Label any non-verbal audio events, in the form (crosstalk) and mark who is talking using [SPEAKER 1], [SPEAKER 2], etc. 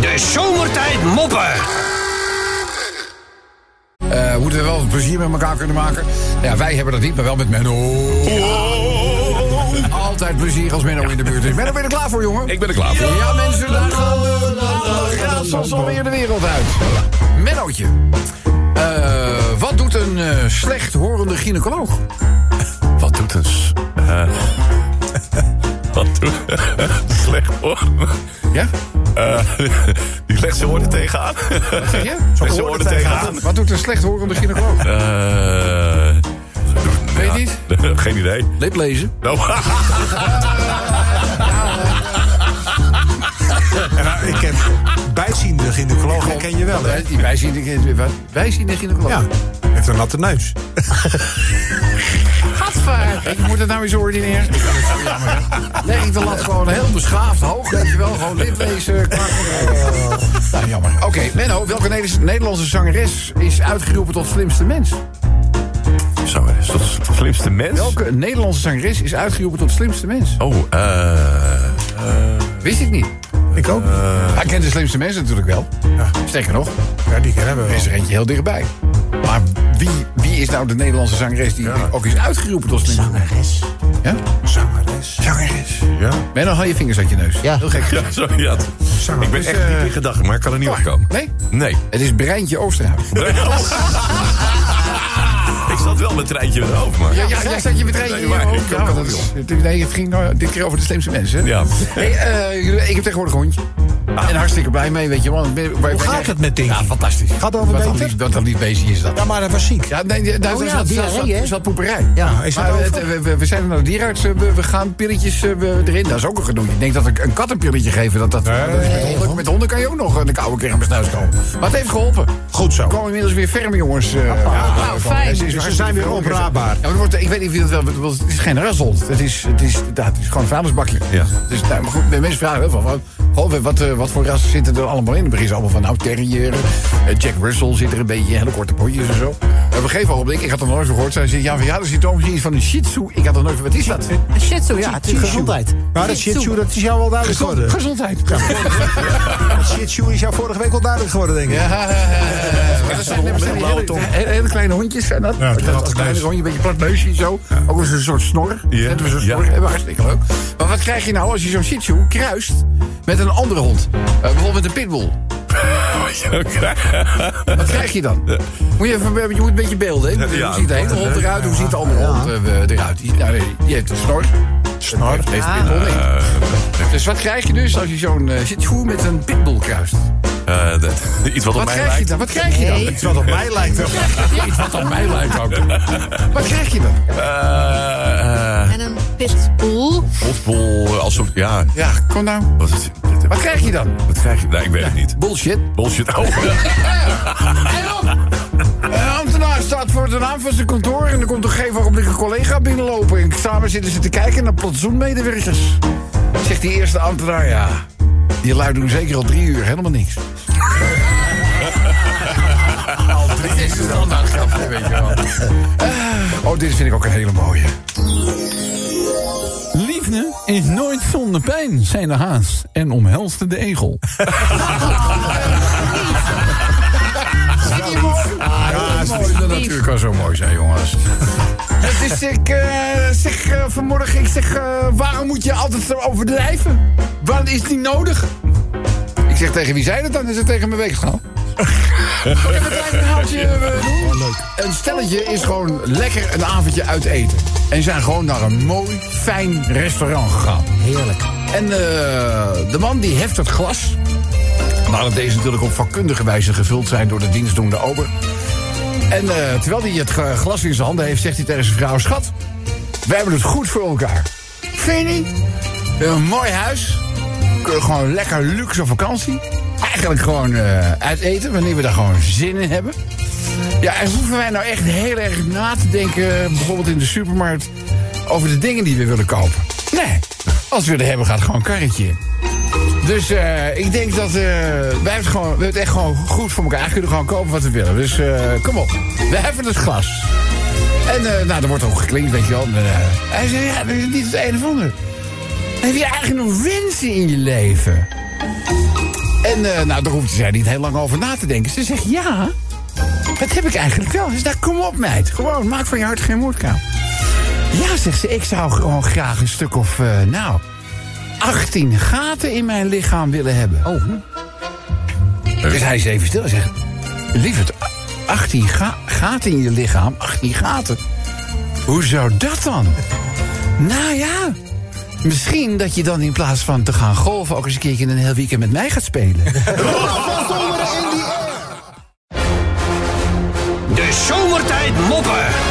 [SPEAKER 1] De zomertijd moppen.
[SPEAKER 2] Eh, moeten we wel wat plezier met elkaar kunnen maken? Ja, wij hebben dat niet, maar wel met Menno. Altijd plezier als Menno in de buurt is. Menno, ben je er klaar voor, jongen?
[SPEAKER 3] Ik ben er klaar voor.
[SPEAKER 2] Ja, mensen, daar gaan de alle raadsels alweer de wereld uit. Mennootje. Eh, wat doet een eh, slecht horende gynaecoloog?
[SPEAKER 3] Wat doet een... s- eh, wat doet een slecht hoor.
[SPEAKER 2] Ja?
[SPEAKER 3] Eh, (laughs) die legt zijn oren tegenaan.
[SPEAKER 2] Zeg je?
[SPEAKER 3] Met
[SPEAKER 2] Zo
[SPEAKER 3] zijn
[SPEAKER 2] gehoord
[SPEAKER 3] oren
[SPEAKER 2] het
[SPEAKER 3] tegenaan.
[SPEAKER 2] Wat doet een slecht horende gynaecoloog?
[SPEAKER 3] Eh,
[SPEAKER 2] Weet je niet?
[SPEAKER 3] (laughs) geen idee.
[SPEAKER 2] Liplezen.
[SPEAKER 3] Nou, (laughs)
[SPEAKER 4] Ja, ik ken bijziende gynaecoloog, die ken je wel, hè?
[SPEAKER 2] Wij, die- wij zien de, wat? wij zien de gynaecoloog.
[SPEAKER 4] Ja, heeft een natte neus.
[SPEAKER 2] Gadver. Ik moet het nou eens ordinair. Ik vind het zo jammer, hè. Leg ik de lat gewoon heel beschaafd hoog, weet je wel. Gewoon lidlezen, klaar. Nou, jammer. Oh. Oké, Menno, welke Nederlandse- Nederlandse zangeres is uitgeroepen tot slimste mens?
[SPEAKER 3] zo, dat is toch de slimste mens?
[SPEAKER 2] Welke Nederlandse zangeres is uitgeroepen tot slimste mens?
[SPEAKER 3] Oh, eh... eh,
[SPEAKER 2] Wist ik niet.
[SPEAKER 4] Ik ook.
[SPEAKER 2] Hij kent de slimste mensen natuurlijk wel. Sterker nog,
[SPEAKER 4] Ja, die kennen we
[SPEAKER 2] er
[SPEAKER 4] wel.
[SPEAKER 2] is er eentje heel dichtbij. Maar wie, wie is nou de Nederlandse zangeres die ook is uitgeroepen tot slimste mens?
[SPEAKER 4] Zangeres.
[SPEAKER 2] Ja?
[SPEAKER 4] Zangeres.
[SPEAKER 2] Zangeres.
[SPEAKER 3] ja.
[SPEAKER 2] Menno, haal je vingers uit je neus. Ja. Heel gek.
[SPEAKER 3] Ja, sorry, ja. Ik ben
[SPEAKER 4] Zangeres. Dus, eh,
[SPEAKER 3] echt diep in gedachten, maar ik kan er niet op komen.
[SPEAKER 2] Nee?
[SPEAKER 3] Nee.
[SPEAKER 2] Het is Breintje Oosterhuis.
[SPEAKER 3] Ik zat wel met het treintje in mijn hoofd, maar...
[SPEAKER 2] Ja, jij zat je met Breintje
[SPEAKER 3] Nee, maar
[SPEAKER 2] in je
[SPEAKER 3] ik
[SPEAKER 2] hoofd.
[SPEAKER 3] kan
[SPEAKER 2] Ja,
[SPEAKER 3] het
[SPEAKER 2] dat
[SPEAKER 3] niet
[SPEAKER 2] is- het- Nee, het ging nou dit keer over de slimste mensen. hè?
[SPEAKER 3] Ja.
[SPEAKER 2] Hey, eh, jullie- ik heb tegenwoordig een hondje. En hartstikke blij mee, weet je wel. Hoe
[SPEAKER 4] gaat het met Dinky?
[SPEAKER 2] Ja, fantastisch.
[SPEAKER 4] Gaat het over
[SPEAKER 2] Wat een
[SPEAKER 4] beter?
[SPEAKER 2] lief- Wat een lief beestje is dat.
[SPEAKER 4] Ja, maar hij was ziek.
[SPEAKER 2] Ja, nee, daar daar
[SPEAKER 5] ja,
[SPEAKER 2] zat, zat,
[SPEAKER 5] diarree,
[SPEAKER 2] zat,
[SPEAKER 5] hè?
[SPEAKER 2] zat poeperij.
[SPEAKER 4] Ja, is dat
[SPEAKER 2] maar
[SPEAKER 4] over?
[SPEAKER 2] het- we, we, we zijn naar de dierenarts, eh, we, we gaan pilletjes eh, we- erin. Dat is ook een gedoe. Ik denk dat een, een kat een pilletje geven, dat, dat, dat is met, honden, met honden kan je ook nog een koude keer aan mijn snuis komen. Maar het heeft geholpen.
[SPEAKER 4] Goed zo.
[SPEAKER 2] We komen inmiddels weer ferm, jongens. eh,
[SPEAKER 5] Nou, fijn.
[SPEAKER 2] Ze
[SPEAKER 4] Dus
[SPEAKER 2] is
[SPEAKER 4] ze
[SPEAKER 2] hartstikke
[SPEAKER 4] zijn weer
[SPEAKER 2] vrolijk.
[SPEAKER 4] opraapbaar.
[SPEAKER 2] Ja, maar het wordt, ik weet niet of je dat wel... want Het is geen razzelt. Het is, het is, ja, het is gewoon een vuilnisbakje.
[SPEAKER 3] Ja.
[SPEAKER 2] Dus, nou, maar goed, de mensen vragen heel veel. Wat, goh, wat, eh, wat voor rassen zitten er allemaal in? Dan beginnen ze allemaal van, nou, terrier. eh, Jack Russell zit er een beetje in. Hele korte potjes en zo. En op een gegeven ogenblik, ik had er nooit van gehoord. Zij zei, ja, van, ja, er zit toch misschien iets van een shih tzu. Ik had er nooit van, wat is dat?
[SPEAKER 5] Een shih tzu, ja, het is gezondheid.
[SPEAKER 4] Maar dat shih tzu, dat is jou wel duidelijk geworden.
[SPEAKER 2] Gezondheid.
[SPEAKER 4] Dat shih tzu is jou vorige week al duidelijk geworden, denk ik.
[SPEAKER 2] Ja, dat zijn
[SPEAKER 4] een hond met een blauwe tong.
[SPEAKER 2] hele, hele kleine hondjes zijn dat.
[SPEAKER 4] Ja,
[SPEAKER 2] dat
[SPEAKER 4] platte
[SPEAKER 2] dat kleine
[SPEAKER 4] neus.
[SPEAKER 2] hondje, een beetje plat neusje zo. Ook eens een soort snor.
[SPEAKER 3] Ja.
[SPEAKER 2] Net als een
[SPEAKER 3] Ja.
[SPEAKER 2] snor. Hebben we hartstikke leuk. Maar wat krijg je nou als je zo'n shih tzu kruist met een andere hond? Eh, bijvoorbeeld met een pitbull. Wat krijg je dan? Moet je, even, je moet een beetje beelden. hè?
[SPEAKER 3] Ja,
[SPEAKER 2] hoe ziet de ene hond eruit? Hoe ziet de andere hond eh, eruit? Die, nou, nee, die heeft een snor. Snor. Heeft heeft pitbull niet. Dus wat krijg je dus als je zo'n eh, shih tzu met een pitbull kruist?
[SPEAKER 3] Eh, dat- iets wat op
[SPEAKER 2] Wat
[SPEAKER 3] mij
[SPEAKER 2] krijg je
[SPEAKER 3] lijkt.
[SPEAKER 2] dan? Wat krijg je dan?
[SPEAKER 4] Iets wat op mij lijkt. wel.
[SPEAKER 2] Iets wat aan mij
[SPEAKER 4] (laughs)
[SPEAKER 2] lijkt ook. Wat krijg je dan?
[SPEAKER 3] Eh, eh,
[SPEAKER 5] En een pitbull.
[SPEAKER 3] Hofbol, alsof... Ja,
[SPEAKER 2] Ja, kom nou.
[SPEAKER 3] wat, is-
[SPEAKER 2] Wat krijg je dan?
[SPEAKER 3] wat krijg je? Nee, ik weet het niet.
[SPEAKER 2] Bullshit.
[SPEAKER 3] Bullshit. Oh,
[SPEAKER 2] Een ambtenaar staat voor de naam van zijn kantoor... en er komt een gegeven ogenblik een collega binnenlopen... en samen zitten ze te kijken naar plantsoenmedewerkers. Zegt die eerste ambtenaar, ja... die lui doen zeker al drie uur helemaal niks. (laughs) al drie uur. Dit is een standaard grapje, weet je wel. Eh, oh, dit vind ik ook een hele mooie.
[SPEAKER 6] Liefde is nooit zonder pijn, zei de haas en omhelste de
[SPEAKER 2] (laughs)
[SPEAKER 6] egel.
[SPEAKER 2] Ja, dat is mooi. natuurlijk kan zo mooi zijn, jongens. (laughs) Het is, ik eh, zeg eh, vanmorgen, ik zeg, eh, waarom moet je altijd zo overdrijven? Want is niet nodig? Ik zeg, tegen wie zei dat dan? Is het tegen mijn weegschaal? Ik heb een klein verhaaltje eh, doen. Een stelletje is gewoon lekker een avondje uit eten. En zijn gewoon naar een mooi, fijn restaurant gegaan.
[SPEAKER 5] Heerlijk.
[SPEAKER 2] En eh, de man die heft het glas. Nadat deze natuurlijk op vakkundige wijze gevuld zijn door de dienstdoende ober. En eh, terwijl hij het eh, glas in zijn handen heeft, zegt hij tegen zijn vrouw: Schat, wij hebben het goed voor elkaar. Vind je niet? We hebben Een mooi huis. Kunnen gewoon lekker luxe op vakantie. Eigenlijk gewoon eh, uit eten, wanneer we daar gewoon zin in hebben. Ja, en hoeven wij nou echt heel erg na te denken, bijvoorbeeld in de supermarkt, over de dingen die we willen kopen? Nee, als we er hebben, gaat gewoon een karretje in. Dus eh, ik denk dat eh, wij hebben het gewoon, we hebben het echt gewoon goed voor elkaar. We kunnen gewoon kopen wat we willen. Dus eh, kom op, we hebben het glas. En eh, nou, er wordt ook geklinkt, weet je wel. En, eh, hij zei, ja, dat is niet het een of ander. Heb je eigenlijk nog wensen in je leven? En En eh, nou, daar hoefde zij niet heel lang over na te denken. Ze zegt, ja, dat heb ik eigenlijk wel. Dus daar kom op, meid. Gewoon, maak van je hart geen moordkaal. Ja, zegt ze, ik zou gewoon graag een stuk of, eh, nou... 18 gaten in mijn lichaam willen hebben. Oh. Dus hij is even stil en zegt... Lieverd, 18 ga- gaten in je lichaam, 18 gaten. Hoe zou dat dan? Nou ja, misschien dat je dan in plaats van te gaan golven... ook eens een keertje een heel weekend met mij gaat spelen.
[SPEAKER 1] De zomertijd moppen.